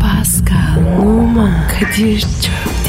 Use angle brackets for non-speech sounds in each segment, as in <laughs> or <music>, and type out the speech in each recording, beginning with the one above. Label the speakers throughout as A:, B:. A: Pascal, Oman, Kadir çok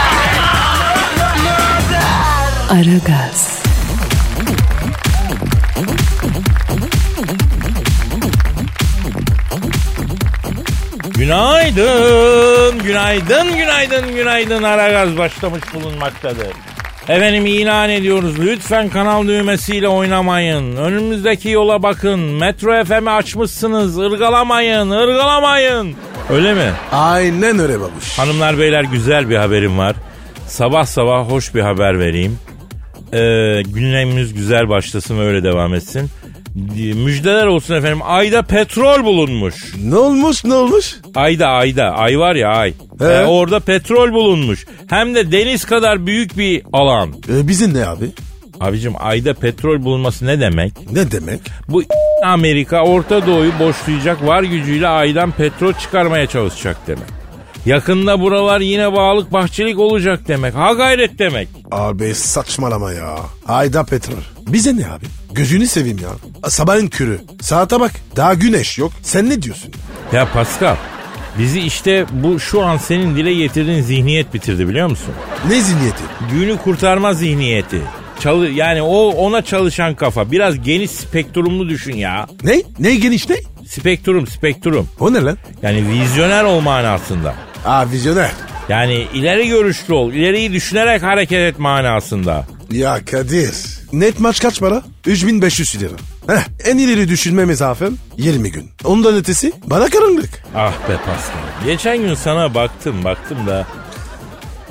A: Aragaz,
B: Günaydın, günaydın, günaydın, günaydın. Aragaz başlamış bulunmaktadır. Efendim ilan ediyoruz. Lütfen kanal düğmesiyle oynamayın. Önümüzdeki yola bakın. Metro FM'i açmışsınız. Irgalamayın, ırgalamayın. Öyle mi?
C: Aynen öyle babuş.
B: Hanımlar beyler güzel bir haberim var. Sabah sabah hoş bir haber vereyim. Ee, gündemimiz güzel başlasın ve öyle devam etsin. Müjdeler olsun efendim. Ayda petrol bulunmuş.
C: Ne olmuş ne olmuş?
B: Ayda ayda ay var ya ay.
C: He.
B: Ee, orada petrol bulunmuş. Hem de deniz kadar büyük bir alan.
C: Ee, bizim ne abi?
B: Abicim ayda petrol bulunması ne demek?
C: Ne demek?
B: Bu <laughs> Amerika Orta Doğu'yu boşlayacak var gücüyle aydan petrol çıkarmaya çalışacak demek. Yakında buralar yine bağlık bahçelik olacak demek. Ha gayret demek.
C: Abi saçmalama ya. Ayda petrol. Bize ne abi? Gözünü seveyim ya. Sabahın körü. Saate bak. Daha güneş yok. Sen ne diyorsun?
B: Ya Pascal bizi işte bu şu an senin dile getirdiğin zihniyet bitirdi biliyor musun?
C: Ne zihniyeti?
B: Günü kurtarma zihniyeti. Çalı, yani o ona çalışan kafa. Biraz geniş spektrumlu düşün ya.
C: Ne? Ne geniş ne?
B: Spektrum, spektrum.
C: O ne lan?
B: Yani vizyoner ol manasında.
C: Aa vizyoner.
B: Yani ileri görüşlü ol, ileriyi düşünerek hareket et manasında.
C: Ya Kadir. Net maç kaç para? 3500 lira. Heh, en ileri düşünme mesafem 20 gün. Ondan ötesi bana karanlık.
B: Ah be Pascal. Geçen gün sana baktım, baktım da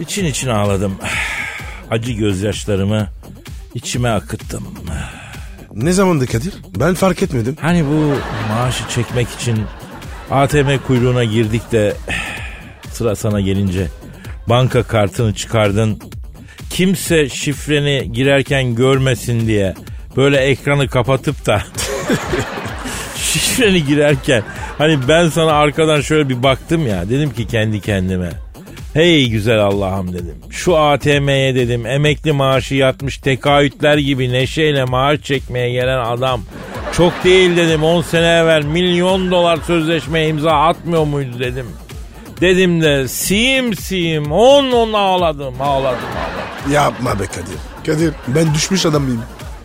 B: için için ağladım. <sighs> Acı gözyaşlarımı içime akıttım.
C: Ne zamandı Kadir? Ben fark etmedim.
B: Hani bu maaşı çekmek için ATM kuyruğuna girdik de sıra sana gelince banka kartını çıkardın. Kimse şifreni girerken görmesin diye böyle ekranı kapatıp da şifreni girerken hani ben sana arkadan şöyle bir baktım ya dedim ki kendi kendime. Hey güzel Allah'ım dedim. Şu ATM'ye dedim emekli maaşı yatmış tekaütler gibi neşeyle maaş çekmeye gelen adam. Çok değil dedim 10 sene evvel milyon dolar sözleşmeye imza atmıyor muydu dedim. Dedim de siyim siyim on on ağladım ağladım ağladım.
C: Yapma be Kadir. Kadir ben düşmüş adam mıyım?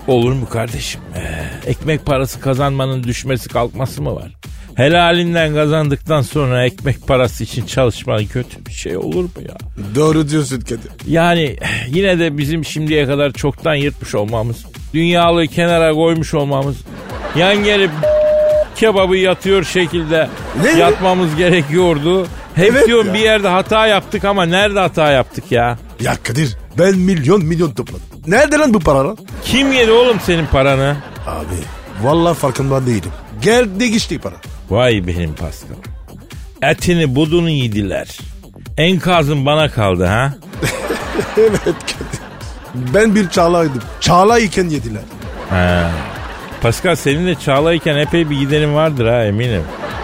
B: Olur mu kardeşim? Ee, ekmek parası kazanmanın düşmesi kalkması mı var? Helalinden kazandıktan sonra ekmek parası için çalışmanın kötü bir şey olur mu ya?
C: Doğru diyorsun Kadir.
B: Yani eh, yine de bizim şimdiye kadar çoktan yırtmış olmamız, dünyalığı kenara koymuş olmamız, yan gelip kebabı yatıyor şekilde
C: Ne?
B: yatmamız gerekiyordu. Hep
C: Evet
B: diyorum
C: ya.
B: bir yerde hata yaptık ama nerede hata yaptık ya?
C: Ya Kadir ben milyon milyon topladım. Nerede lan bu para lan?
B: Kim yedi oğlum senin paranı?
C: Abi vallahi farkında değilim. Geldi geçti para.
B: Vay benim paskam. Etini budunu yediler. Enkazın bana kaldı ha.
C: Evet Kadir. Ben bir çağlaydım. Çağla iken yediler.
B: ha. Pascal senin de Çağla'yken epey bir giderin vardır ha eminim.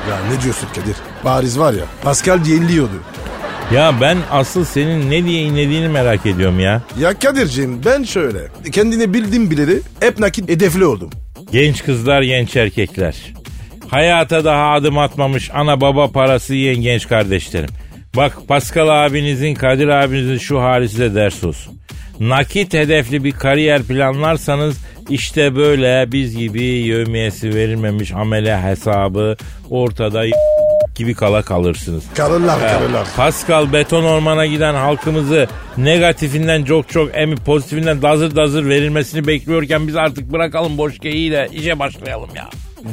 C: Ya ne diyorsun Kadir? Bariz var ya Pascal yeniliyordu.
B: Ya ben asıl senin ne diye inlediğini merak ediyorum ya.
C: Ya Kadir'ciğim ben şöyle. Kendini bildim bileli hep nakit hedefli oldum.
B: Genç kızlar genç erkekler. Hayata daha adım atmamış ana baba parası yiyen genç kardeşlerim. Bak Pascal abinizin Kadir abinizin şu hali size ders olsun. Nakit hedefli bir kariyer planlarsanız işte böyle biz gibi yevmiyesi verilmemiş amele hesabı ortada gibi kala kalırsınız.
C: Karılar karılar.
B: Pascal beton ormana giden halkımızı negatifinden çok çok emi pozitifinden dazır dazır verilmesini bekliyorken biz artık bırakalım boş geyiğiyle işe başlayalım ya.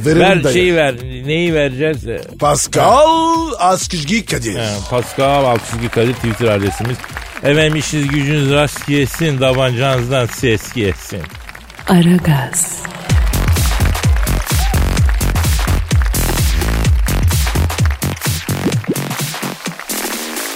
C: Verin
B: ver
C: dayı.
B: şeyi ver neyi vereceğiz? Ee,
C: Pascal Askizgi Kadir.
B: Pascal Altçizgi Kadir Twitter adresimiz. Efendim işiniz gücünüz rast gelsin tabancanızdan ses gelsin.
A: Aragaz,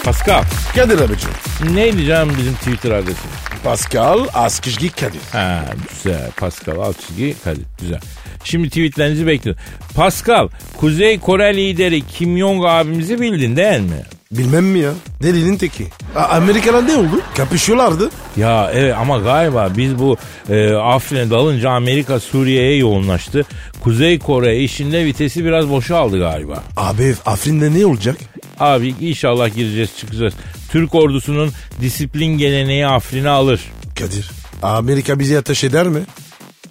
B: Pascal.
C: Kadir abicim.
B: Neydi canım bizim Twitter adresimiz?
C: Pascal Askışgi Kadir.
B: Ha güzel. Pascal Altçizgi Kadir. Güzel. Şimdi tweetlerinizi bekliyorum. Pascal, Kuzey Kore lideri Kim Jong abimizi bildin değil mi?
C: Bilmem mi ya? Delinin teki. A- Amerika'da ne oldu? Kapışıyorlardı.
B: Ya evet ama galiba biz bu e, Afrin'e dalınca Amerika Suriye'ye yoğunlaştı. Kuzey Kore işinde vitesi biraz boşa aldı galiba.
C: Abi Afrin'de ne olacak?
B: Abi inşallah gireceğiz çıkacağız. Türk ordusunun disiplin geleneği Afrin'i alır.
C: Kadir. Amerika bizi ateş eder mi?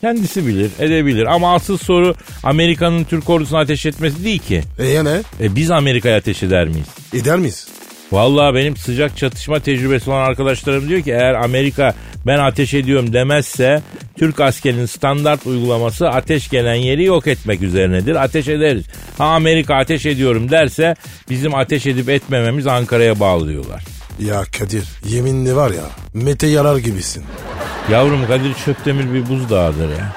B: Kendisi bilir, edebilir ama asıl soru Amerika'nın Türk ordusuna ateş etmesi değil ki.
C: E ya ne?
B: E biz Amerika'ya ateş eder miyiz?
C: Eder miyiz?
B: Vallahi benim sıcak çatışma tecrübesi olan arkadaşlarım diyor ki eğer Amerika ben ateş ediyorum demezse Türk askerinin standart uygulaması ateş gelen yeri yok etmek üzerinedir. Ateş ederiz. Ha Amerika ateş ediyorum derse bizim ateş edip etmememiz Ankara'ya bağlı diyorlar.
C: Ya Kadir yeminli var ya Mete yarar gibisin.
B: Yavrum Kadir Çöptemir bir buzdağıdır ya.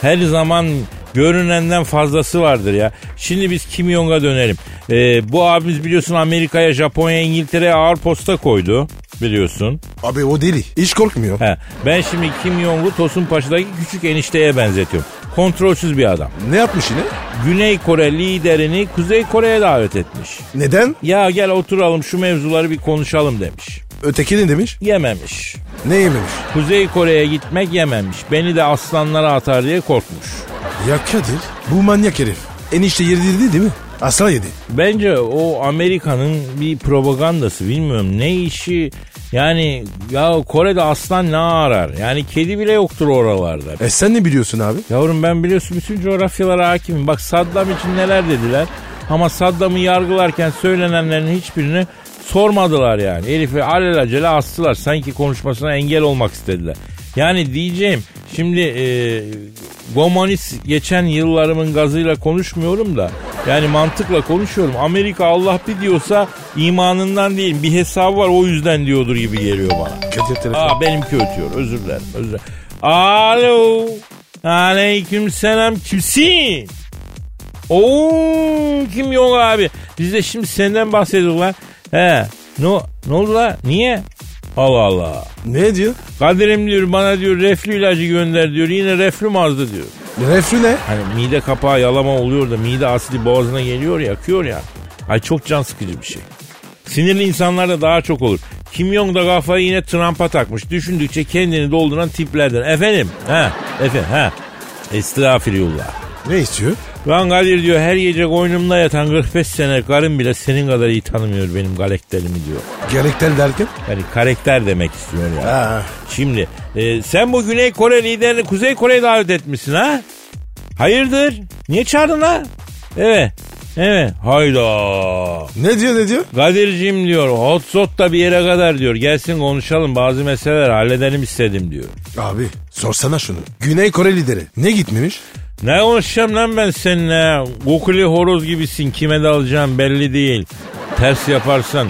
B: Her zaman görünenden fazlası vardır ya. Şimdi biz Kim Jong'a dönelim. Ee, bu abimiz biliyorsun Amerika'ya, Japonya, İngiltere'ye ağır posta koydu biliyorsun.
C: Abi o deli. Hiç korkmuyor.
B: He, ben şimdi Kim Jong-un Tosun Paşa'daki küçük enişteye benzetiyorum. Kontrolsüz bir adam.
C: Ne yapmış yine?
B: Güney Kore liderini Kuzey Kore'ye davet etmiş.
C: Neden?
B: Ya gel oturalım şu mevzuları bir konuşalım demiş.
C: Öteki ne demiş?
B: Yememiş.
C: Ne yememiş?
B: Kuzey Kore'ye gitmek yememiş. Beni de aslanlara atar diye korkmuş.
C: Ya Kadir bu manyak herif. Enişte yedirdi değil mi? Aslan yedi.
B: Bence o Amerika'nın bir propagandası bilmiyorum ne işi yani ya Kore'de aslan ne arar? Yani kedi bile yoktur oralarda.
C: E sen ne biliyorsun abi?
B: Yavrum ben biliyorsun bütün coğrafyalara hakimim. Bak Saddam için neler dediler. Ama Saddam'ı yargılarken söylenenlerin hiçbirini sormadılar yani. Herifi alelacele astılar. Sanki konuşmasına engel olmak istediler. Yani diyeceğim şimdi e, Gomanis geçen yıllarımın gazıyla konuşmuyorum da yani mantıkla konuşuyorum. Amerika Allah bir diyorsa imanından değil bir hesabı var o yüzden diyordur gibi geliyor bana.
C: Kadir telefon.
B: Aa benimki ötüyor. Özür dilerim. Özür dilerim. Alo. Aleyküm selam. Kimsin? Oo kim yok abi? Biz de şimdi senden bahsediyoruz lan. He. Ne, ne oldu lan? Niye? Allah Allah.
C: Ne diyor?
B: Kadir'im diyor bana diyor reflü ilacı gönder diyor. Yine reflüm azdı diyor.
C: Reflü ne?
B: Hani mide kapağı yalama oluyor da mide asidi boğazına geliyor ya akıyor ya. Ay çok can sıkıcı bir şey. Sinirli insanlarda daha çok olur. Kim Jong da kafayı yine Trump'a takmış. Düşündükçe kendini dolduran tiplerden. Efendim? Ha, efendim, ha. Estağfirullah.
C: Ne istiyor?
B: Lan Kadir diyor her gece koynumda yatan 45 sene karım bile senin kadar iyi tanımıyor benim galekterimi diyor.
C: Gerekten derken?
B: Yani karakter demek istiyor ya.
C: Ha.
B: Şimdi e, sen bu Güney Kore liderini Kuzey Kore'ye davet etmişsin ha? Hayırdır? Niye çağırdın ha? Evet. Evet. Hayda.
C: Ne diyor ne diyor?
B: Kadir'cim diyor hot shot da bir yere kadar diyor. Gelsin konuşalım bazı meseleler halledelim istedim diyor.
C: Abi sorsana şunu. Güney Kore lideri ne gitmemiş?
B: Ne konuşacağım lan ben seninle? Kukuli horoz gibisin kime dalacağım belli değil. Ters yaparsan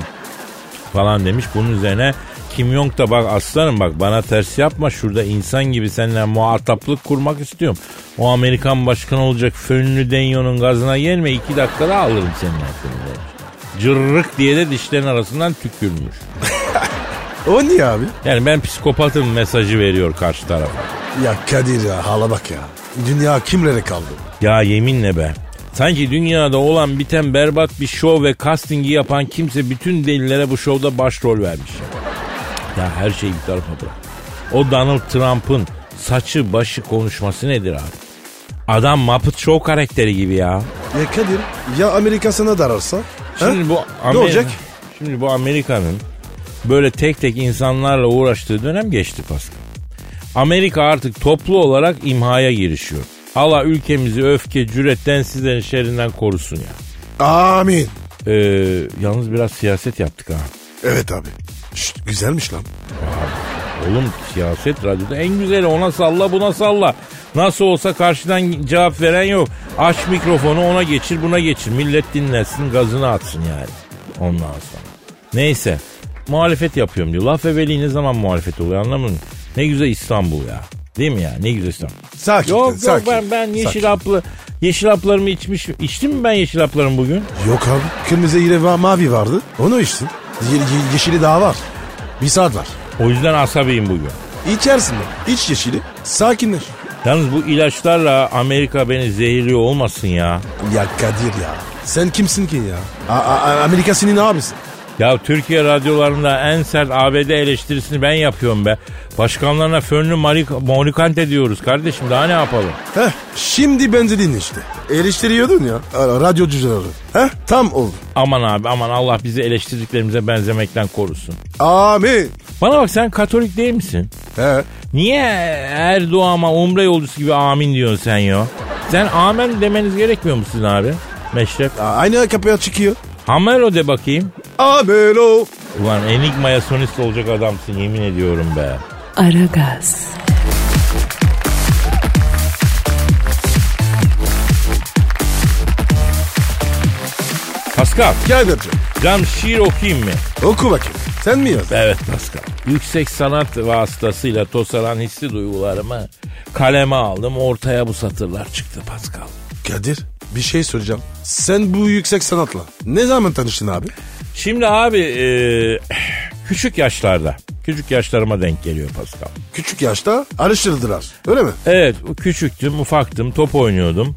B: falan demiş. Bunun üzerine Kim Jong da bak aslanım bak bana ters yapma şurada insan gibi seninle muhataplık kurmak istiyorum. O Amerikan başkanı olacak fönlü Denyo'nun gazına gelme iki dakikada alırım senin aklını demiş. Cırrık diye de dişlerin arasından tükürmüş.
C: O niye abi?
B: Yani ben psikopatım mesajı veriyor karşı tarafa.
C: Ya Kadir ya hala bak ya. Dünya kimlere kaldı?
B: Ya yeminle be. Sanki dünyada olan biten berbat bir şov ve castingi yapan kimse bütün delilere bu şovda başrol vermiş. Ya her şeyi bir tarafa bırak. O Donald Trump'ın saçı başı konuşması nedir abi? Adam Muppet Show karakteri gibi ya.
C: Ya Kadir ya Amerika sana dararsa?
B: Şimdi
C: Ha?
B: bu Amer-
C: Ne olacak?
B: Şimdi bu Amerika'nın böyle tek tek insanlarla uğraştığı dönem geçti Pascal. Amerika artık toplu olarak imhaya girişiyor. Allah ülkemizi öfke, cüret, densizlerin şerrinden korusun ya.
C: Amin.
B: Ee, yalnız biraz siyaset yaptık ha.
C: Evet abi. Şşt, güzelmiş lan.
B: Oğlum siyaset radyoda en güzeli ona salla buna salla. Nasıl olsa karşıdan cevap veren yok. Aç mikrofonu ona geçir buna geçir. Millet dinlesin gazını atsın yani. Ondan sonra. Neyse muhalefet yapıyorum diyor. Laf evveliği ne zaman muhalefet oluyor anlamadım. Ne güzel İstanbul ya. Değil mi ya? Ne güzel İstanbul.
C: Sakin.
B: Yok yok
C: sakin.
B: ben, ben
C: Sakin.
B: yeşil haplı yeşil haplarımı içmiş. İçtim mi ben yeşil haplarımı bugün?
C: Yok abi. Kırmızı ile va- mavi vardı. Onu içtin. Ye- ye- yeşili daha var. Bir saat var.
B: O yüzden asabiyim bugün.
C: İçersin de. İç yeşili. Sakinleş.
B: Yalnız bu ilaçlarla Amerika beni zehirliyor olmasın ya.
C: Ya Kadir ya. Sen kimsin ki ya? A- A- Amerika senin abisin.
B: Ya Türkiye radyolarında en sert ABD eleştirisini ben yapıyorum be. Başkanlarına fönlü marik- morikante diyoruz kardeşim daha ne yapalım?
C: Heh, şimdi benzedin işte. Eleştiriyordun ya. a- Radyocuları. Heh, tam oldu.
B: Aman abi aman Allah bizi eleştirdiklerimize benzemekten korusun.
C: Amin.
B: Bana bak sen Katolik değil misin?
C: He.
B: Niye her duama umre yolcusu gibi amin diyorsun sen ya? Sen amen demeniz gerekmiyor mu sizin abi? Meşrep.
C: a- Aynı kapıya çıkıyor.
B: Hamero de bakayım.
C: Amin o.
B: Ulan Enigma'ya sonist olacak adamsın yemin ediyorum be.
A: Aragaz,
B: Pascal,
C: Kadir'ci
B: cam şiir okuyayım mı?
C: oku bakayım. Sen mi yazdın?
B: Evet Pascal. Yüksek sanat vasıtasıyla tosaran hissi duygularımı kaleme aldım. Ortaya bu satırlar çıktı Pascal.
C: Kadir bir şey soracağım. Sen bu yüksek sanatla ne zaman tanıştın abi?
B: Şimdi abi e, küçük yaşlarda, küçük yaşlarıma denk geliyor Pascal.
C: Küçük yaşta araştırdılar. Öyle mi?
B: Evet küçüktüm, ufaktım, top oynuyordum.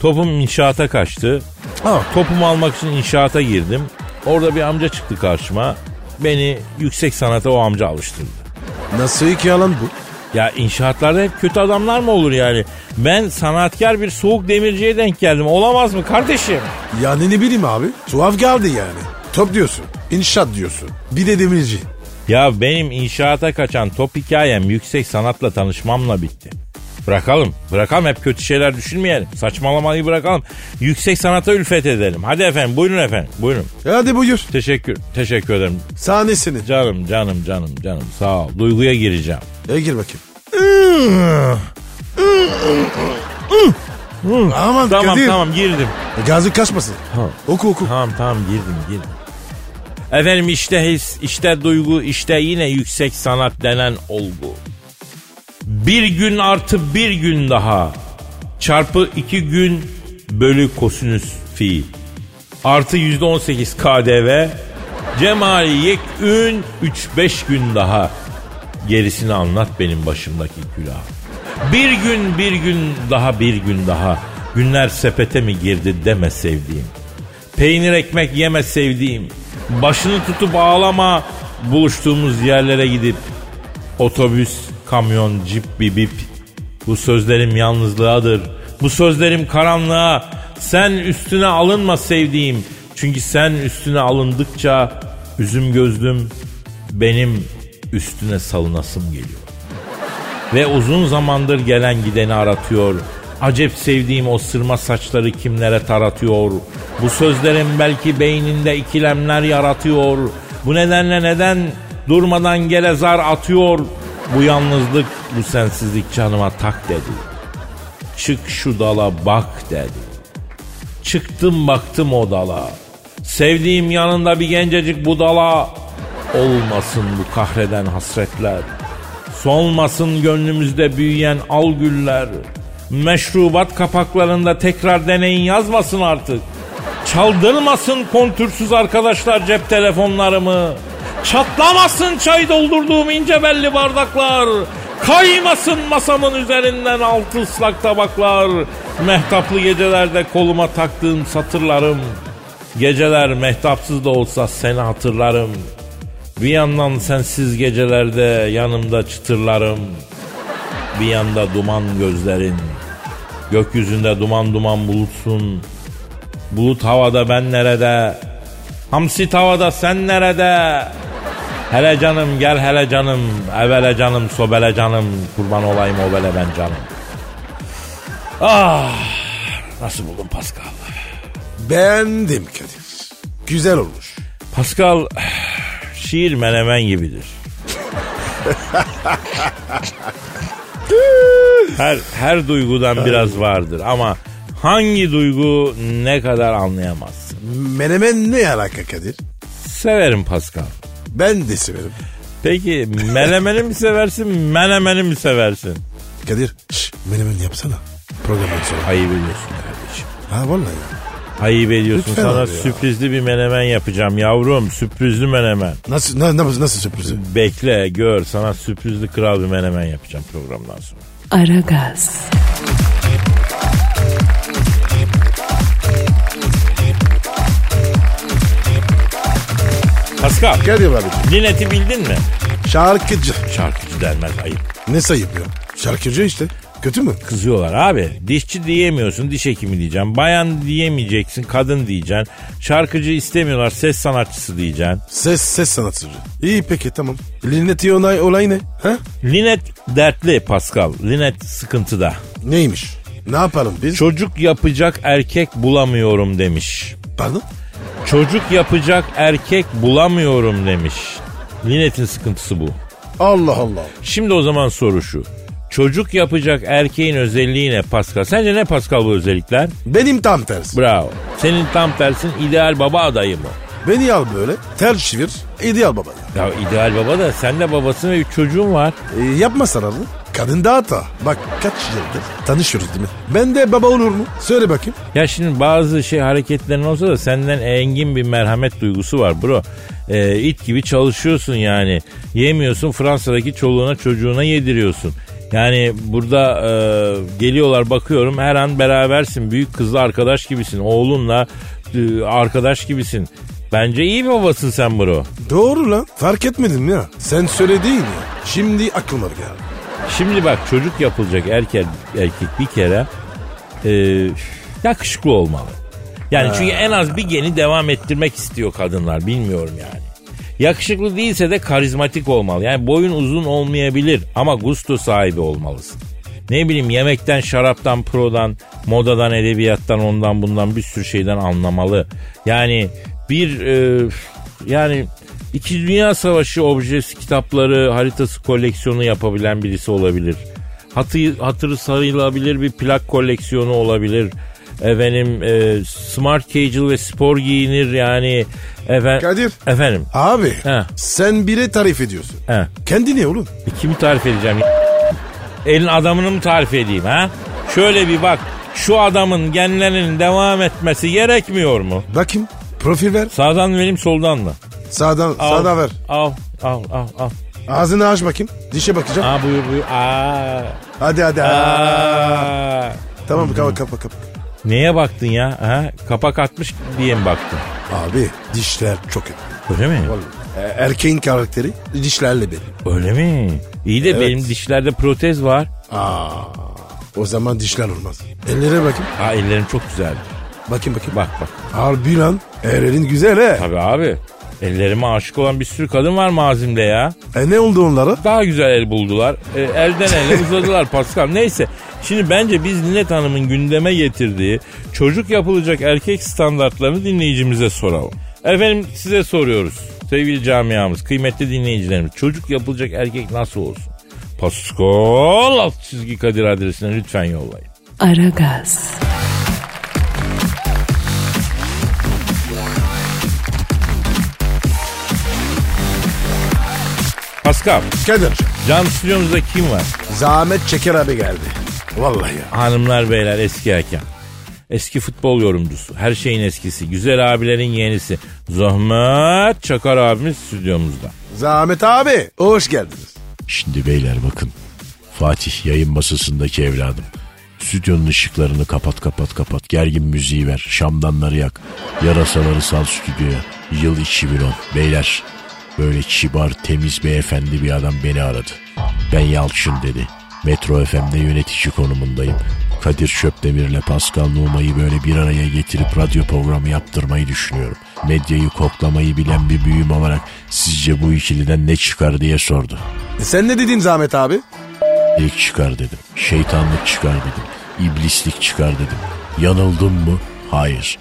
B: Topum inşaata kaçtı.
C: Ha.
B: Topumu almak için inşaata girdim. Orada bir amca çıktı karşıma. Beni yüksek sanata o amca alıştırdı.
C: Nasıl iki yalan bu?
B: Ya inşaatlarda hep kötü adamlar mı olur yani? Ben sanatkar bir soğuk demirciye denk geldim. Olamaz mı kardeşim?
C: Yani ne bileyim abi. Tuhaf geldi yani. Top diyorsun. inşaat diyorsun. Bir de demirci.
B: Ya benim inşaata kaçan top hikayem yüksek sanatla tanışmamla bitti. Bırakalım, bırakalım hep kötü şeyler düşünmeyelim. Saçmalamayı bırakalım. Yüksek sanata ülfet edelim. Hadi efendim, buyurun efendim, buyurun.
C: E Hadi buyur.
B: Teşekkür, teşekkür ederim.
C: Sahne senin.
B: Canım, canım, canım, canım. Sağ ol. Duyguya gireceğim.
C: E gir bakayım. Aman
B: Tamam,
C: Kadir. E,
B: tamam girdim.
C: Gazı kaçmasın. Oku oku.
B: Tamam tamam girdim girdim. Efendim işte his, işte duygu, işte yine yüksek sanat denen olgu. Bir gün artı bir gün daha. Çarpı iki gün bölü kosinüs fiil. Artı yüzde on sekiz KDV. Cemali yekün üç beş gün daha. Gerisini anlat benim başımdaki külah. Bir gün bir gün daha bir gün daha. Günler sepete mi girdi deme sevdiğim. Peynir ekmek yeme sevdiğim. Başını tutup ağlama. Buluştuğumuz yerlere gidip otobüs, kamyon, cip, bibip. Bu sözlerim yalnızlığadır. Bu sözlerim karanlığa. Sen üstüne alınma sevdiğim. Çünkü sen üstüne alındıkça üzüm gözlüm benim üstüne salınasım geliyor ve uzun zamandır gelen gideni aratıyor. Acep sevdiğim o sırma saçları kimlere taratıyor. Bu sözlerin belki beyninde ikilemler yaratıyor. Bu nedenle neden durmadan gele zar atıyor. Bu yalnızlık, bu sensizlik canıma tak dedi. Çık şu dala bak dedi. Çıktım baktım o dala. Sevdiğim yanında bir gencecik budala. Olmasın bu kahreden hasretler. Solmasın gönlümüzde büyüyen al güller. Meşrubat kapaklarında tekrar deneyin yazmasın artık. Çaldırmasın kontürsüz arkadaşlar cep telefonlarımı. Çatlamasın çay doldurduğum ince belli bardaklar. Kaymasın masamın üzerinden altı ıslak tabaklar. Mehtaplı gecelerde koluma taktığım satırlarım. Geceler mehtapsız da olsa seni hatırlarım. Bir yandan sensiz gecelerde yanımda çıtırlarım. Bir yanda duman gözlerin. Gökyüzünde duman duman bulutsun. Bulut havada ben nerede? Hamsi tavada sen nerede? Hele canım gel hele canım. Evele canım sobele canım. Kurban olayım obele ben canım. Ah nasıl buldun Pascal?
C: Bendim Kadir. Güzel olmuş.
B: Pascal şiir menemen gibidir. her her duygudan biraz vardır ama hangi duygu ne kadar anlayamazsın.
C: Menemen ne alaka Kadir?
B: Severim Pascal.
C: Ben de severim.
B: Peki menemeni mi seversin, menemeni mi seversin?
C: Kadir şş, menemen yapsana. Programdan sonra.
B: Ayıp ediyorsun kardeşim.
C: Ha vallahi ya.
B: Ayıp ediyorsun.
C: Lütfen
B: Sana
C: abi ya.
B: sürprizli bir menemen yapacağım yavrum. Sürprizli menemen.
C: Nasıl, na- na- nasıl sürprizi?
B: Bekle gör sana sürprizli kral bir menemen yapacağım programdan sonra.
A: Aragaz,
B: Pascal
C: Gel ya abi.
B: Linet'i bildin mi?
C: Şarkıcı.
B: Şarkıcı denmez ayıp.
C: Ne sayıp ya? Şarkıcı işte. Kötü mü?
B: Kızıyorlar abi. Dişçi diyemiyorsun diş hekimi diyeceğim. Bayan diyemeyeceksin kadın diyeceksin. Şarkıcı istemiyorlar ses sanatçısı diyeceksin.
C: Ses ses sanatçısı. İyi peki tamam. Lineti olay, olay ne? Ha?
B: Linet dertli Pascal. Linet sıkıntıda.
C: Neymiş? Ne yapalım biz?
B: Çocuk yapacak erkek bulamıyorum demiş.
C: Pardon?
B: Çocuk yapacak erkek bulamıyorum demiş. Linet'in sıkıntısı bu.
C: Allah Allah.
B: Şimdi o zaman soru şu. Çocuk yapacak erkeğin özelliği ne Pascal? Sence ne Pascal bu özellikler?
C: Benim tam tersi.
B: Bravo. Senin tam tersin ideal baba adayı mı?
C: Beni al böyle. Ter çevir. ideal baba ya.
B: Ya ideal baba da sen de babasın ve üç çocuğun var.
C: E, yapma sararlı. Kadın da hata. Bak kaç yıldır tanışıyoruz değil mi? Ben de baba olur mu? Söyle bakayım.
B: Ya şimdi bazı şey hareketlerin olsa da senden engin bir merhamet duygusu var bro. Ee, it gibi çalışıyorsun yani. Yemiyorsun Fransa'daki çoluğuna çocuğuna yediriyorsun. Yani burada e, geliyorlar bakıyorum her an berabersin. Büyük kızla arkadaş gibisin. Oğlunla e, arkadaş gibisin. Bence iyi bir babasın sen bro.
C: Doğru lan. Fark etmedim ya. Sen söylediğin ya. Şimdi aklıma geldi.
B: Şimdi bak çocuk yapılacak erkek erkek bir kere e, yakışıklı olmalı. Yani çünkü en az bir geni devam ettirmek istiyor kadınlar bilmiyorum yani. Yakışıklı değilse de karizmatik olmalı. Yani boyun uzun olmayabilir ama gusto sahibi olmalısın. Ne bileyim yemekten, şaraptan, prodan, modadan, edebiyattan, ondan bundan bir sürü şeyden anlamalı. Yani bir e, yani İkinci Dünya Savaşı objesi kitapları, haritası koleksiyonu yapabilen birisi olabilir. Hatı, hatırı sarılabilir bir plak koleksiyonu olabilir. Efendim e, smart casual ve spor giyinir yani. Efe,
C: Kadir.
B: Efendim.
C: Abi
B: He.
C: sen bire tarif ediyorsun.
B: He.
C: Kendi ne oğlum?
B: E, Kimi tarif edeceğim? Elin adamını mı tarif edeyim ha? Şöyle bir bak. Şu adamın genlerinin devam etmesi gerekmiyor mu?
C: Bakayım. Profil ver.
B: Sağdan mı vereyim soldan mı?
C: Sağdan,
B: Al,
C: sağdan ver.
B: Al al al al.
C: Ağzını aç bakayım. Dişe bakacağım.
B: Aa buyur buyur. Aa.
C: Hadi hadi.
B: Aa.
C: Tamam kapa kapa kapa.
B: Neye baktın ya? Ha? Kapak atmış diye mi baktın?
C: Abi dişler çok önemli.
B: Öyle mi?
C: E, Erkeğin karakteri dişlerle belli.
B: Öyle mi? İyi de
C: Evet.
B: benim dişlerde protez var.
C: Aa, o zaman dişler olmaz. Ellere bakayım.
B: Aa ellerim çok güzel.
C: Bakayım bakayım.
B: Bak bak.
C: Harbi lan. E, Ellerin güzel he.
B: Tabii abi. Ellerime aşık olan bir sürü kadın var mazimde ya.
C: E ne oldu onlara?
B: Daha güzel el buldular. E, elden ele uzadılar Pascal. Neyse. Şimdi bence biz Ninet Hanım'ın gündeme getirdiği çocuk yapılacak erkek standartlarını dinleyicimize soralım. Efendim size soruyoruz. Sevgili camiamız, kıymetli dinleyicilerimiz. Çocuk yapılacak erkek nasıl olsun? Pascal alt çizgi Kadir adresine lütfen yollayın.
A: Aragaz,
B: Pascal,
C: Kadir.
B: cam stüdyomuzda kim var?
C: Zahmet Çeker abi geldi. Vallahi ya.
B: Hanımlar beyler eski hakem. Eski futbol yorumcusu. Her şeyin eskisi. Güzel abilerin yenisi. Zahmet Çakar abimiz stüdyomuzda.
C: Zahmet abi. Hoş geldiniz.
D: Şimdi beyler bakın. Fatih yayın masasındaki evladım. Stüdyonun ışıklarını kapat kapat kapat. Gergin müziği ver. Şamdanları yak. Yarasaları sal stüdyoya. Yıl 2010. Beyler böyle kibar temiz beyefendi bir adam beni aradı. Ben Yalçın dedi. Metro FM'de yönetici konumundayım. Kadir Şöpdemir'le Pascal Numa'yı böyle bir araya getirip radyo programı yaptırmayı düşünüyorum. Medyayı koklamayı bilen bir büyüm olarak sizce bu ikiliden ne çıkar diye sordu.
C: E sen ne dedin Zahmet abi?
D: İlk çıkar dedim. Şeytanlık çıkar dedim. İblislik çıkar dedim. Yanıldım mı? Hayır.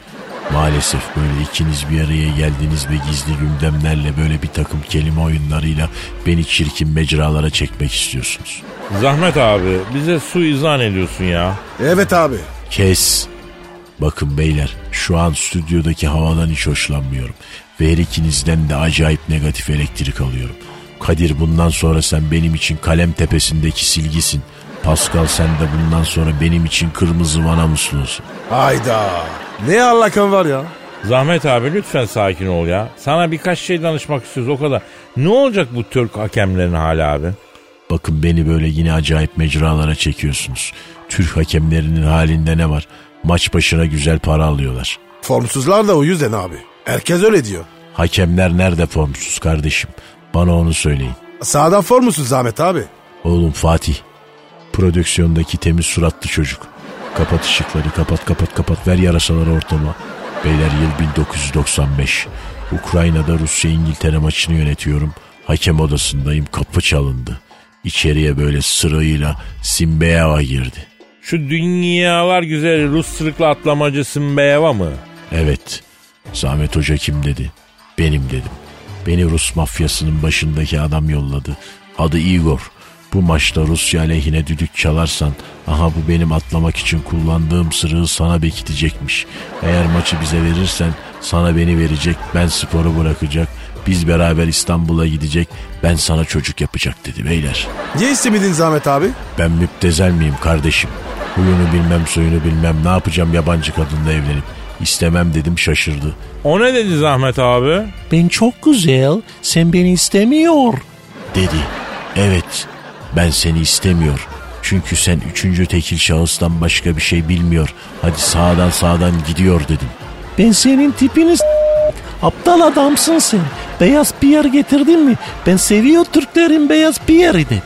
D: Maalesef böyle ikiniz bir araya geldiniz ve gizli gündemlerle böyle bir takım kelime oyunlarıyla beni çirkin mecralara çekmek istiyorsunuz.
B: Zahmet abi bize suizan ediyorsun ya.
C: Evet abi.
D: Kes. Bakın beyler şu an stüdyodaki havadan hiç hoşlanmıyorum. Ve her ikinizden de acayip negatif elektrik alıyorum. Kadir bundan sonra sen benim için kalem tepesindeki silgisin. Pascal sen de bundan sonra benim için kırmızı vana musunuz?
C: Hayda. Ne allakan var ya?
B: Zahmet abi lütfen sakin ol ya. Sana birkaç şey danışmak istiyoruz o kadar. Ne olacak bu Türk hakemlerin hali abi?
D: Bakın beni böyle yine acayip mecralara çekiyorsunuz. Türk hakemlerinin halinde ne var? Maç başına güzel para alıyorlar.
C: Formsuzlar da o yüzden abi. Herkes öyle diyor.
D: Hakemler nerede formsuz kardeşim? Bana onu söyleyin.
C: Sağdan formsuz Zahmet abi.
D: Oğlum Fatih. Prodüksiyondaki temiz suratlı çocuk. Kapat ışıkları kapat kapat kapat ver yarasaları ortama. Beyler yıl 1995. Ukrayna'da Rusya İngiltere maçını yönetiyorum. Hakem odasındayım kapı çalındı. İçeriye böyle sırayla Simbeava girdi.
B: Şu dünyalar güzeli Rus sırıklı atlamacı Simbeyeva mı?
D: Evet. Zahmet Hoca kim dedi? Benim dedim. Beni Rus mafyasının başındaki adam yolladı. Adı Igor. Bu maçta Rusya lehine düdük çalarsan aha bu benim atlamak için kullandığım sırığı sana bekitecekmiş. Eğer maçı bize verirsen sana beni verecek ben sporu bırakacak biz beraber İstanbul'a gidecek ben sana çocuk yapacak dedi beyler.
C: Niye istemedin Zahmet abi?
D: Ben müptezel miyim kardeşim? Huyunu bilmem suyunu bilmem ne yapacağım yabancı kadınla evlenip. İstemem dedim şaşırdı.
B: O ne dedi Zahmet abi?
D: Ben çok güzel sen beni istemiyor dedi. Evet ben seni istemiyor. Çünkü sen üçüncü tekil şahıstan başka bir şey bilmiyor. Hadi sağdan sağdan gidiyor dedim. Ben senin tipiniz Aptal adamsın sen. Beyaz piyer getirdin mi? Ben seviyor Türklerin beyaz piyeri dedi.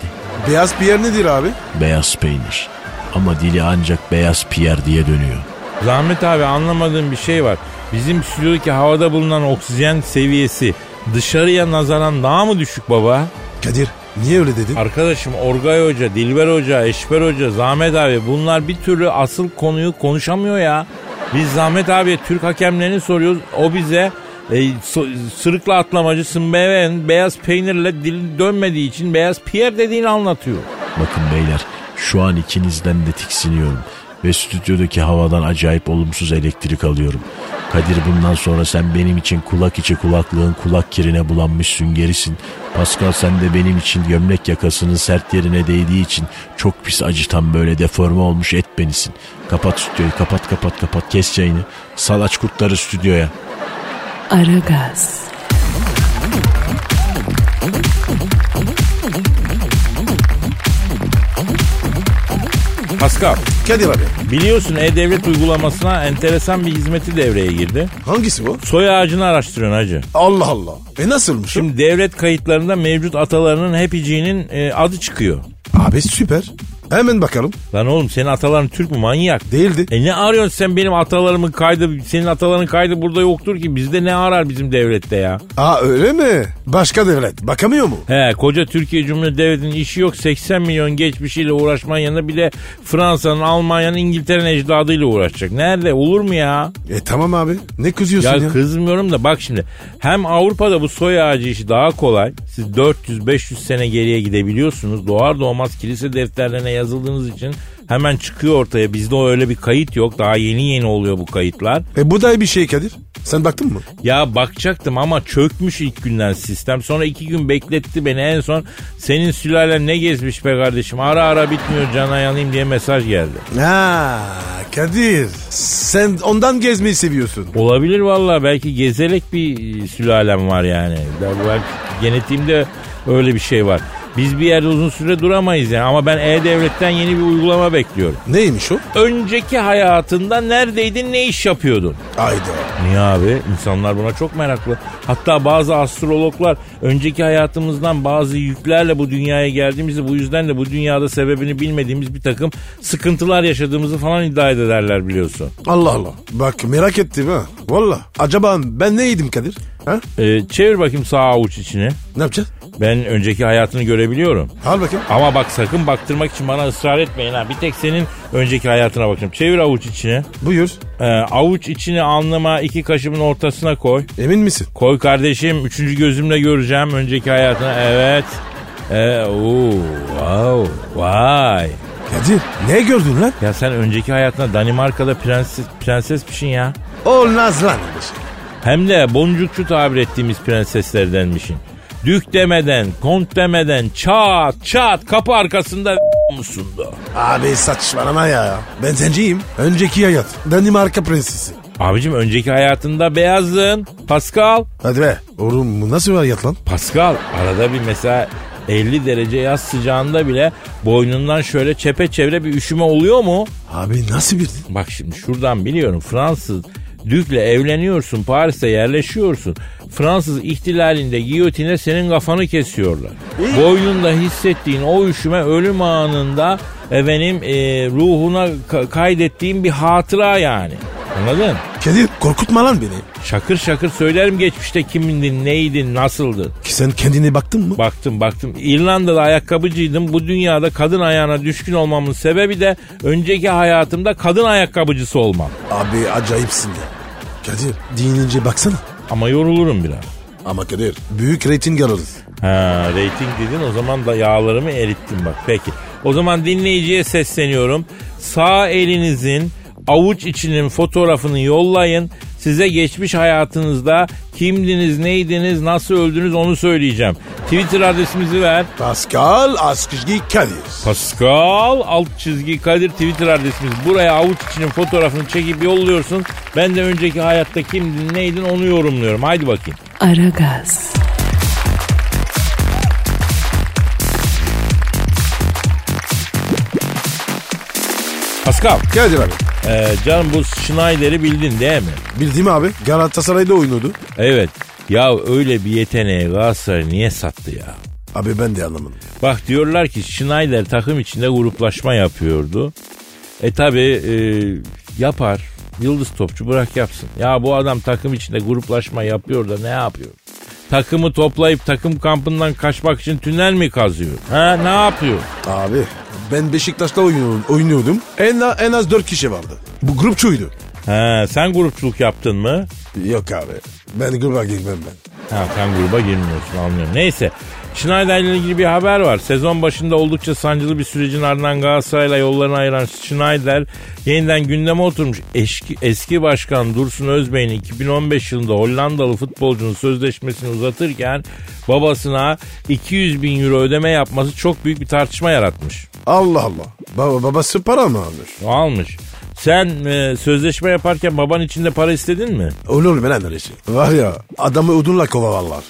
C: Beyaz Pierre nedir abi?
D: Beyaz peynir. Ama dili ancak beyaz piyer diye dönüyor.
B: Zahmet abi anlamadığım bir şey var. Bizim stüdyodaki havada bulunan oksijen seviyesi dışarıya nazaran daha mı düşük baba?
C: Kadir niye öyle dedin?
B: Arkadaşım Orgay Hoca, Dilber Hoca, Eşber Hoca, Zahmet abi bunlar bir türlü asıl konuyu konuşamıyor ya. Biz Zahmet abiye Türk hakemlerini soruyoruz. O bize e, so- sırıkla atlamacı Sımbeven beyaz peynirle dili dönmediği için beyaz Pierre dediğini anlatıyor.
D: Bakın beyler şu an ikinizden de tiksiniyorum. Ve stüdyodaki havadan acayip olumsuz elektrik alıyorum. Kadir bundan sonra sen benim için kulak içi kulaklığın kulak kirine bulanmış süngerisin. Pascal sen de benim için gömlek yakasının sert yerine değdiği için çok pis acıtan böyle deforme olmuş et benisin. Kapat stüdyoyu kapat kapat kapat kes yayını. Salaç kurtları stüdyoya.
A: Aragaz,
B: Pascal
C: Kadir abi
B: biliyorsun E-Devlet uygulamasına enteresan bir hizmeti devreye girdi.
C: hangisi bu?
B: Soy ağacını araştırıyorsun hacı.
C: Allah Allah. E nasılmış? o?
B: Şimdi devlet kayıtlarında mevcut atalarının hepiciğinin e, adı çıkıyor.
C: Abi süper. Hemen bakalım.
B: Lan oğlum senin ataların Türk mü manyak?
C: Değildi.
B: E ne arıyorsun sen benim atalarımın kaydı, senin ataların kaydı burada yoktur ki bizde ne arar bizim devlette ya?
C: Aa öyle mi? Başka devlet bakamıyor mu?
B: He koca Türkiye Cumhuriyeti Devleti'nin işi yok 80 milyon geçmişiyle uğraşmanın yanında bir de Fransa'nın, Almanya'nın, İngiltere'nin ecdadıyla uğraşacak. Nerede olur mu ya?
C: E tamam abi. Ne kızıyorsun
B: Ya
C: ya?
B: kızmıyorum da bak şimdi hem Avrupa'da bu soy ağacı işi daha kolay. Siz 400-500 sene geriye gidebiliyorsunuz. Doğar doğmaz kilise defterlerine yazıldığınız için hemen çıkıyor ortaya. Bizde öyle bir kayıt yok. Daha yeni yeni oluyor bu kayıtlar.
C: E bu da bir şey Kadir. Sen baktın mı?
B: Ya bakacaktım ama çökmüş ilk günden sistem. Sonra iki gün bekletti beni. En son senin sülalen ne gezmiş be kardeşim. Ara ara bitmiyor cana yanayım diye mesaj geldi.
C: Ha Kadir. Sen ondan gezmeyi seviyorsun.
B: Olabilir valla belki gezelek bir e, sülalem var yani. Ben- Belki genetiğimde öyle bir şey var. Biz bir yerde uzun süre duramayız yani ama ben E-Devlet'ten yeni bir uygulama bekliyorum.
C: Neymiş o?
B: Önceki hayatında neredeydin ne iş yapıyordun?
C: Ayda.
B: Niye abi? İnsanlar buna çok meraklı. Hatta bazı astrologlar önceki hayatımızdan bazı yüklerle bu dünyaya geldiğimizi bu yüzden de bu dünyada sebebini bilmediğimiz bir takım sıkıntılar yaşadığımızı falan iddia ederler biliyorsun.
C: Allah Allah. Bak merak ettim ha. Valla. Acaba ben neydim Kadir? Ha?
B: Ee, çevir bakayım sağ avuç içini.
C: Ne yapacağız?
B: Ben önceki hayatını görebiliyorum.
C: Al bakayım.
B: Ama bak sakın baktırmak için bana ısrar etmeyin ha. Bir tek senin önceki hayatına bakacağım. Çevir avuç içini.
C: Buyur.
B: Ee, avuç içini alnıma iki kaşımın ortasına koy.
C: Emin misin?
B: Koy kardeşim. Üçüncü gözümle göreceğim önceki hayatını. Evet. Ee, oo, wow, vay.
C: Kadir ne gördün lan?
B: Ya sen önceki hayatına Danimarka'da prenses, prensesmişsin ya.
C: Olmaz lan.
B: Hem de boncukçu tabir ettiğimiz prenseslerdenmişin. Dük demeden, kont demeden çat çat kapı arkasında musundu.
C: Abi saçmalama ya. Ben zenciyim. Önceki hayat. Danimarka prensesi.
B: Abicim önceki hayatında beyazdın. Pascal.
C: Hadi be. Oğlum bu nasıl var yat lan?
B: Pascal arada bir mesela 50 derece yaz sıcağında bile boynundan şöyle çepeçevre bir üşüme oluyor mu?
C: Abi nasıl bir...
B: Bak şimdi şuradan biliyorum Fransız Dük'le evleniyorsun Paris'te yerleşiyorsun. Fransız ihtilalinde giyotine senin kafanı kesiyorlar. Boynunda hissettiğin o üşüme ölüm anında efendim e, ruhuna ka- kaydettiğin bir hatıra yani. Anladın?
C: Kadir korkutma lan beni.
B: Şakır şakır söylerim geçmişte kimindin, neydin, nasıldın.
C: Ki sen kendine baktın mı?
B: Baktım baktım. İrlanda'da ayakkabıcıydım. Bu dünyada kadın ayağına düşkün olmamın sebebi de önceki hayatımda kadın ayakkabıcısı olmam.
C: Abi acayipsin ya. Kadir dinince baksana.
B: Ama yorulurum biraz.
C: Ama Kadir büyük reyting alırız.
B: Ha, reyting dedin o zaman da yağlarımı erittim bak. Peki. O zaman dinleyiciye sesleniyorum. Sağ elinizin avuç içinin fotoğrafını yollayın. Size geçmiş hayatınızda kimdiniz, neydiniz, nasıl öldünüz onu söyleyeceğim. Twitter adresimizi ver.
C: Pascal Askışgi Kadir.
B: Pascal alt çizgi Kadir Twitter adresimiz. Buraya avuç içinin fotoğrafını çekip yolluyorsun. Ben de önceki hayatta kimdin neydin onu yorumluyorum. Haydi bakayım.
A: Aragaz,
B: Pascal
C: Kadir abi.
B: e, canım bu Schneider'i bildin değil mi?
C: Bildiğim abi Galatasaray'da oynuyordu.
B: Evet. Ya öyle bir yeteneği Galatasaray niye sattı ya?
C: Abi ben de anlamadım.
B: Bak diyorlar ki Schneider takım içinde gruplaşma yapıyordu. E tabi yapar. Yıldız topçu bırak yapsın. Ya bu adam takım içinde gruplaşma yapıyor da ne yapıyor? Takımı toplayıp takım kampından kaçmak için tünel mi kazıyor? Ha ne yapıyor?
C: Abi ben Beşiktaş'ta oynuyordum. oynuyordum. En, a- en az 4 kişi vardı. Bu grupçuydu.
B: Ha sen grupçuluk yaptın mı?
C: Yok abi. Ben gruba girmem ben.
B: Ha sen gruba girmiyorsun anlıyorum. Neyse. Schneider ile ilgili bir haber var. Sezon başında oldukça sancılı bir sürecin ardından Galatasaray'la yollarını ayıran Schneider yeniden gündeme oturmuş. Eski, eski başkan Dursun Özbey'in 2015 yılında Hollandalı futbolcunun sözleşmesini uzatırken babasına 200 bin euro ödeme yapması çok büyük bir tartışma yaratmış.
C: Allah Allah. Baba, babası para mı almış?
B: Almış. Sen e, sözleşme yaparken baban için de para istedin mi?
C: Olur mu lan öyle şey? Var ya adamı odunla kovalarlar.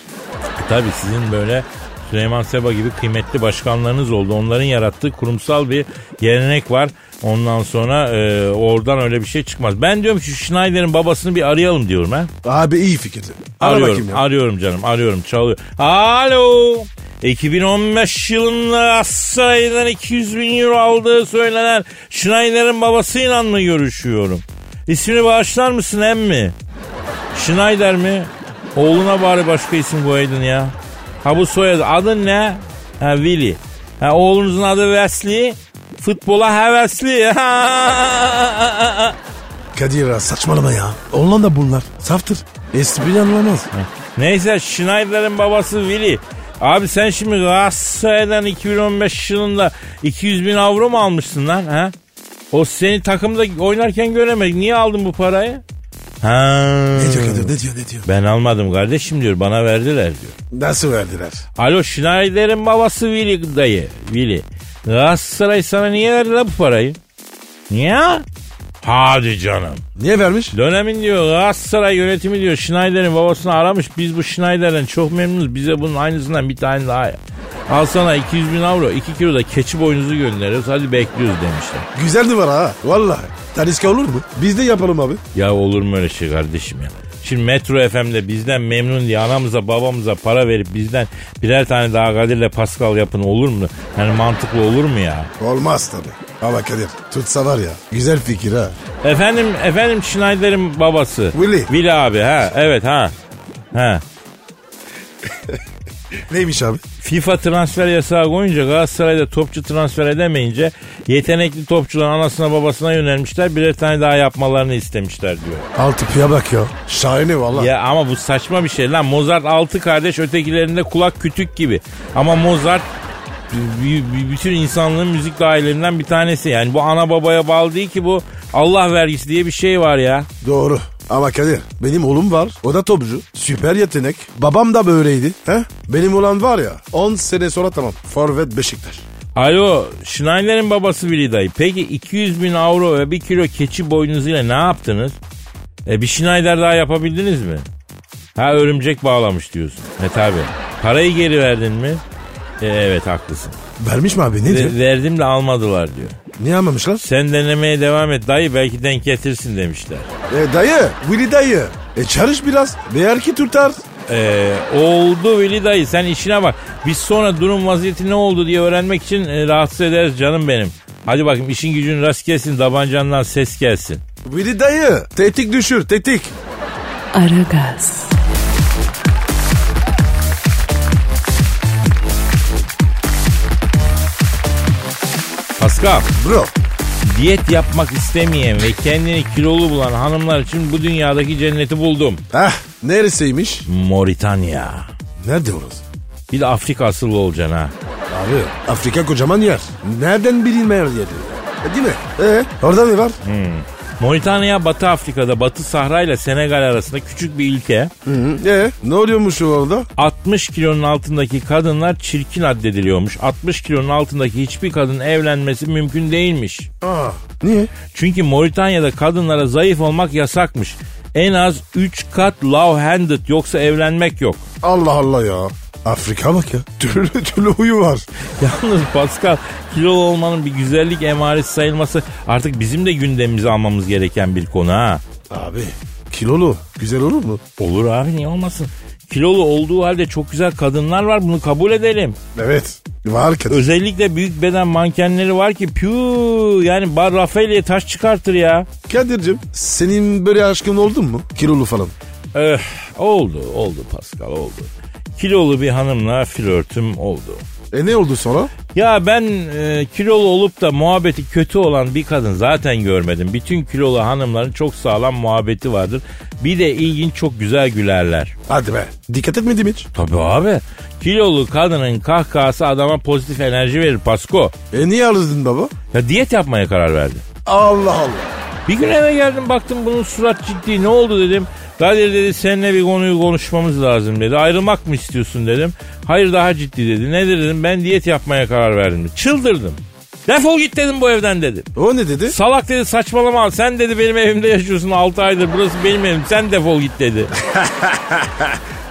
B: Tabii sizin böyle Süleyman Seba gibi kıymetli başkanlarınız oldu. Onların yarattığı kurumsal bir gelenek var. Ondan sonra e, oradan öyle bir şey çıkmaz. Ben diyorum ki şu Schneider'in babasını bir arayalım diyorum ha.
C: Abi iyi fikirdi. Ara
B: Arıyorum,
C: bakayım ya.
B: arıyorum canım, arıyorum, çalıyor. Alo. 2015 yılında Galatasaray'dan 200 bin euro aldığı söylenen Schneider'in babasıyla mı görüşüyorum? İsmini bağışlar mısın emmi? Schneider mi? Oğluna bari başka isim koydun ya. Ha bu soyadı. Adın ne? Ha Willy. Ha oğlunuzun adı Wesley. Futbola hevesli. <laughs>
C: Kadir ya, saçmalama ya. Ondan da bunlar. Saftır. Espri anlamaz.
B: Neyse Schneider'in babası Willy. Abi sen şimdi Galatasaray'dan 2015 yılında 200 bin avro mu almışsın lan ha? O seni takımda oynarken göremedik. Niye aldın bu parayı? Ha.
C: Ne diyor Kadir ne diyor ne diyor?
B: Ben almadım kardeşim diyor. Bana verdiler diyor.
C: Nasıl verdiler?
B: Alo Schneider'in babası Willy dayı. Willy. Galatasaray sana niye verdi lan bu parayı? Niye? Hadi canım.
C: Niye vermiş?
B: Dönemin diyor Galatasaray yönetimi diyor Schneider'in babasını aramış. Biz bu Schneider'den çok memnunuz. Bize bunun aynısından bir tane daha yap. Al sana 200 bin avro 2 kilo da keçi boynuzu gönderiyoruz. Hadi bekliyoruz demişler.
C: Güzel var ha. Vallahi. Taliska olur mu? Biz de yapalım abi.
B: Ya olur mu öyle şey kardeşim ya? Şimdi Metro FM'de bizden memnun diye anamıza babamıza para verip bizden birer tane daha Kadir'le Pascal yapın olur mu? Yani mantıklı olur mu ya?
C: Olmaz tabii. Ama Kadir tutsa var ya. Güzel fikir ha.
B: Efendim efendim Schneider'in babası.
C: Willy.
B: Willy abi ha evet ha. Ha.
C: Neymiş abi?
B: FIFA transfer yasağı koyunca Galatasaray'da topçu transfer edemeyince yetenekli topçuların anasına babasına yönelmişler. Birer tane daha yapmalarını istemişler diyor.
C: Altı piya bak ya. Şahane valla.
B: Ya ama bu saçma bir şey lan. Mozart altı kardeş ötekilerinde kulak kütük gibi. Ama Mozart b- b- bütün insanlığın müzik dahillerinden bir tanesi. Yani bu ana babaya bağlı değil ki bu. Allah vergisi diye bir şey var ya.
C: Doğru. Ama Kadir benim oğlum var. O da topçu. Süper yetenek. Babam da böyleydi. He? Benim olan var ya 10 sene sonra tamam. Forvet Beşiktaş.
B: Alo Schneider'in babası Willy dayı. Peki 200 bin avro ve 1 kilo keçi boynuzuyla ne yaptınız? E bir Schneider daha yapabildiniz mi? Ha örümcek bağlamış diyorsun. E tabi. Parayı geri verdin mi? E, evet haklısın.
C: Vermiş mi abi ne diyor?
B: Ve- verdim de almadılar diyor.
C: Niye almamışlar?
B: Sen denemeye devam et dayı belki denk getirsin demişler.
C: E, dayı, Willy dayı. E çalış biraz. Değer ki tutar.
B: Ee, oldu Veli dayı sen işine bak. Biz sonra durum vaziyeti ne oldu diye öğrenmek için e, rahatsız ederiz canım benim. Hadi bakayım işin gücün rast gelsin tabancandan ses gelsin.
C: Willy dayı, tetik düşür, tetik.
A: Aragaz,
B: Pascal
C: Bro,
B: diyet yapmak istemeyen ve kendini kilolu bulan hanımlar için bu dünyadaki cenneti buldum.
C: ah neresiymiş?
B: Moritanya.
C: Nerede orası?
B: Bir de Afrika asıllı olacaksın ha.
C: Abi, Afrika kocaman yer. Nereden bilinmeyen yeri? E, değil mi? E, orada ne var?
B: Moritanya Batı Afrika'da Batı Sahra ile Senegal arasında küçük bir ülke.
C: E, ne oluyormuş orada?
B: 60 kilonun altındaki kadınlar çirkin addediliyormuş. 60 kilonun altındaki hiçbir kadın evlenmesi mümkün değilmiş.
C: Aa, niye?
B: Çünkü Moritanya'da kadınlara zayıf olmak yasakmış. En az 3 kat love handed yoksa evlenmek yok.
C: Allah Allah ya. Afrika bak ya. <laughs> Türlü türlü huyu var.
B: Yalnız Pascal kilolu olmanın bir güzellik emaresi sayılması artık bizim de gündemimize almamız gereken bir konu ha.
C: Abi, kilolu güzel olur mu?
B: Olur abi niye olmasın? Kilolu olduğu halde çok güzel kadınlar var bunu kabul edelim.
C: Evet. Var ki.
B: Özellikle büyük beden mankenleri var ki piu yani bar Rafael'e taş çıkartır ya.
C: Kadir'cim senin böyle aşkın oldun mu? Kilolu falan.
B: Eh, oldu oldu Pascal oldu. Kilolu bir hanımla flörtüm oldu.
C: E ne oldu sonra?
B: Ya ben e, kilolu olup da muhabbeti kötü olan bir kadın zaten görmedim. Bütün kilolu hanımların çok sağlam muhabbeti vardır. Bir de ilginç çok güzel gülerler.
C: Hadi be. Dikkat etmedim hiç.
B: Tabii abi. Kilolu kadının kahkahası adama pozitif enerji verir Pasko.
C: E niye alırdın baba?
B: Ya diyet yapmaya karar verdi.
C: Allah Allah.
B: Bir gün eve geldim baktım bunun surat ciddi ne oldu dedim. Kadir dedi seninle bir konuyu konuşmamız lazım dedi. Ayrılmak mı istiyorsun dedim. Hayır daha ciddi dedi. Nedir dedim ben diyet yapmaya karar verdim. dedi. Çıldırdım. Defol git dedim bu evden dedi.
C: O ne dedi?
B: Salak dedi saçmalama sen dedi benim evimde yaşıyorsun 6 aydır burası benim evim sen defol git dedi.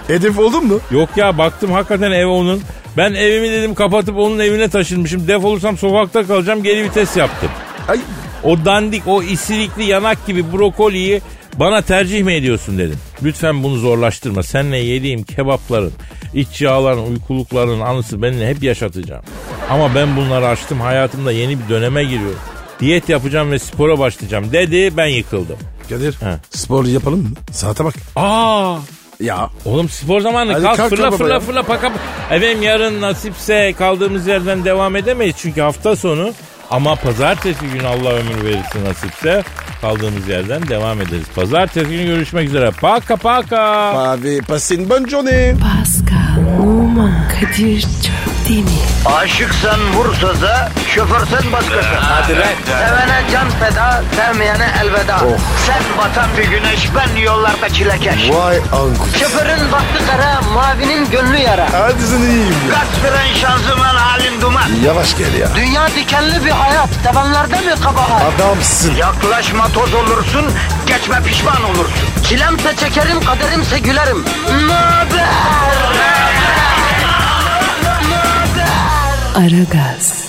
C: Hedef oldun mu?
B: Yok ya baktım hakikaten ev onun. Ben evimi dedim kapatıp onun evine taşınmışım. Defolursam sokakta kalacağım geri vites yaptım.
C: Ay
B: O dandik, o isirikli yanak gibi brokoliyi bana tercih mi ediyorsun dedim. Lütfen bunu zorlaştırma. Seninle yediğim kebapların, iç yağların, uykulukların anısı benimle hep yaşatacağım. Ama ben bunları açtım. Hayatımda yeni bir döneme giriyorum. Diyet yapacağım ve spora başlayacağım dedi. Ben yıkıldım.
C: Kadir
B: He.
C: spor yapalım mı? Saate bak.
B: Aa!
C: Ya.
B: Oğlum spor zamanı
C: Hadi
B: kalk,
C: kalk
B: fırla
C: lan baba
B: fırla
C: ya.
B: fırla paka. Efendim yarın nasipse kaldığımız yerden devam edemeyiz çünkü hafta sonu. Ama pazartesi günü Allah ömür verirse nasipse kaldığımız yerden devam ederiz. Pazartesi günü görüşmek üzere. Paka paka.
C: Abi pasin boncone.
A: Pascal, Oman, Kadir çok değil mi?
E: Aşıksan vursa da, şoförsen başkasın. Hadi Sevene can feda, sevmeyene elveda. Sen batan bir güneş, ben yollarda çilekeş.
C: Vay anku.
E: Şoförün baktı kara, mavinin gönlü yara.
C: Hadi sen iyiyim ya.
E: Kasperen şanzıman halin duman.
C: Yavaş gel ya.
E: Dünya dikenli bir hayat, sevenlerde mi kabahar?
C: Adamsın.
E: Yaklaşma toz olursun, geçme pişman olursun. Çilemse çekerim, kaderimse gülerim. Möber!
A: Aragaz.